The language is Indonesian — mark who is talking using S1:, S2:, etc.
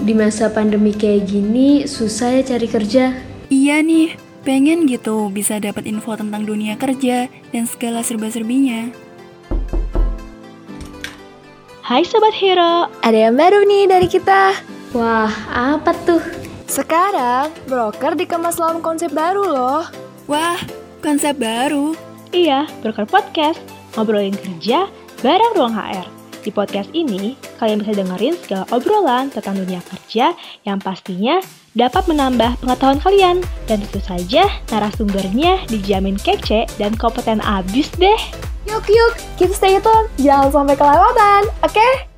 S1: di masa pandemi kayak gini susah ya cari kerja.
S2: Iya nih, pengen gitu bisa dapat info tentang dunia kerja dan segala serba-serbinya.
S3: Hai Sobat Hero,
S4: Ada yang baru nih dari kita.
S1: Wah, apa tuh?
S4: Sekarang, broker dikemas dalam konsep baru loh.
S2: Wah, konsep baru.
S3: iya Broker Podcast, ngobrolin kerja bareng Ruang HR. Di podcast ini, kalian bisa dengerin segala obrolan tentang dunia kerja yang pastinya dapat menambah pengetahuan kalian. Dan tentu saja, narasumbernya dijamin kece dan kompeten abis deh.
S4: Yuk yuk, keep stay tune, jangan sampai kelewatan, oke?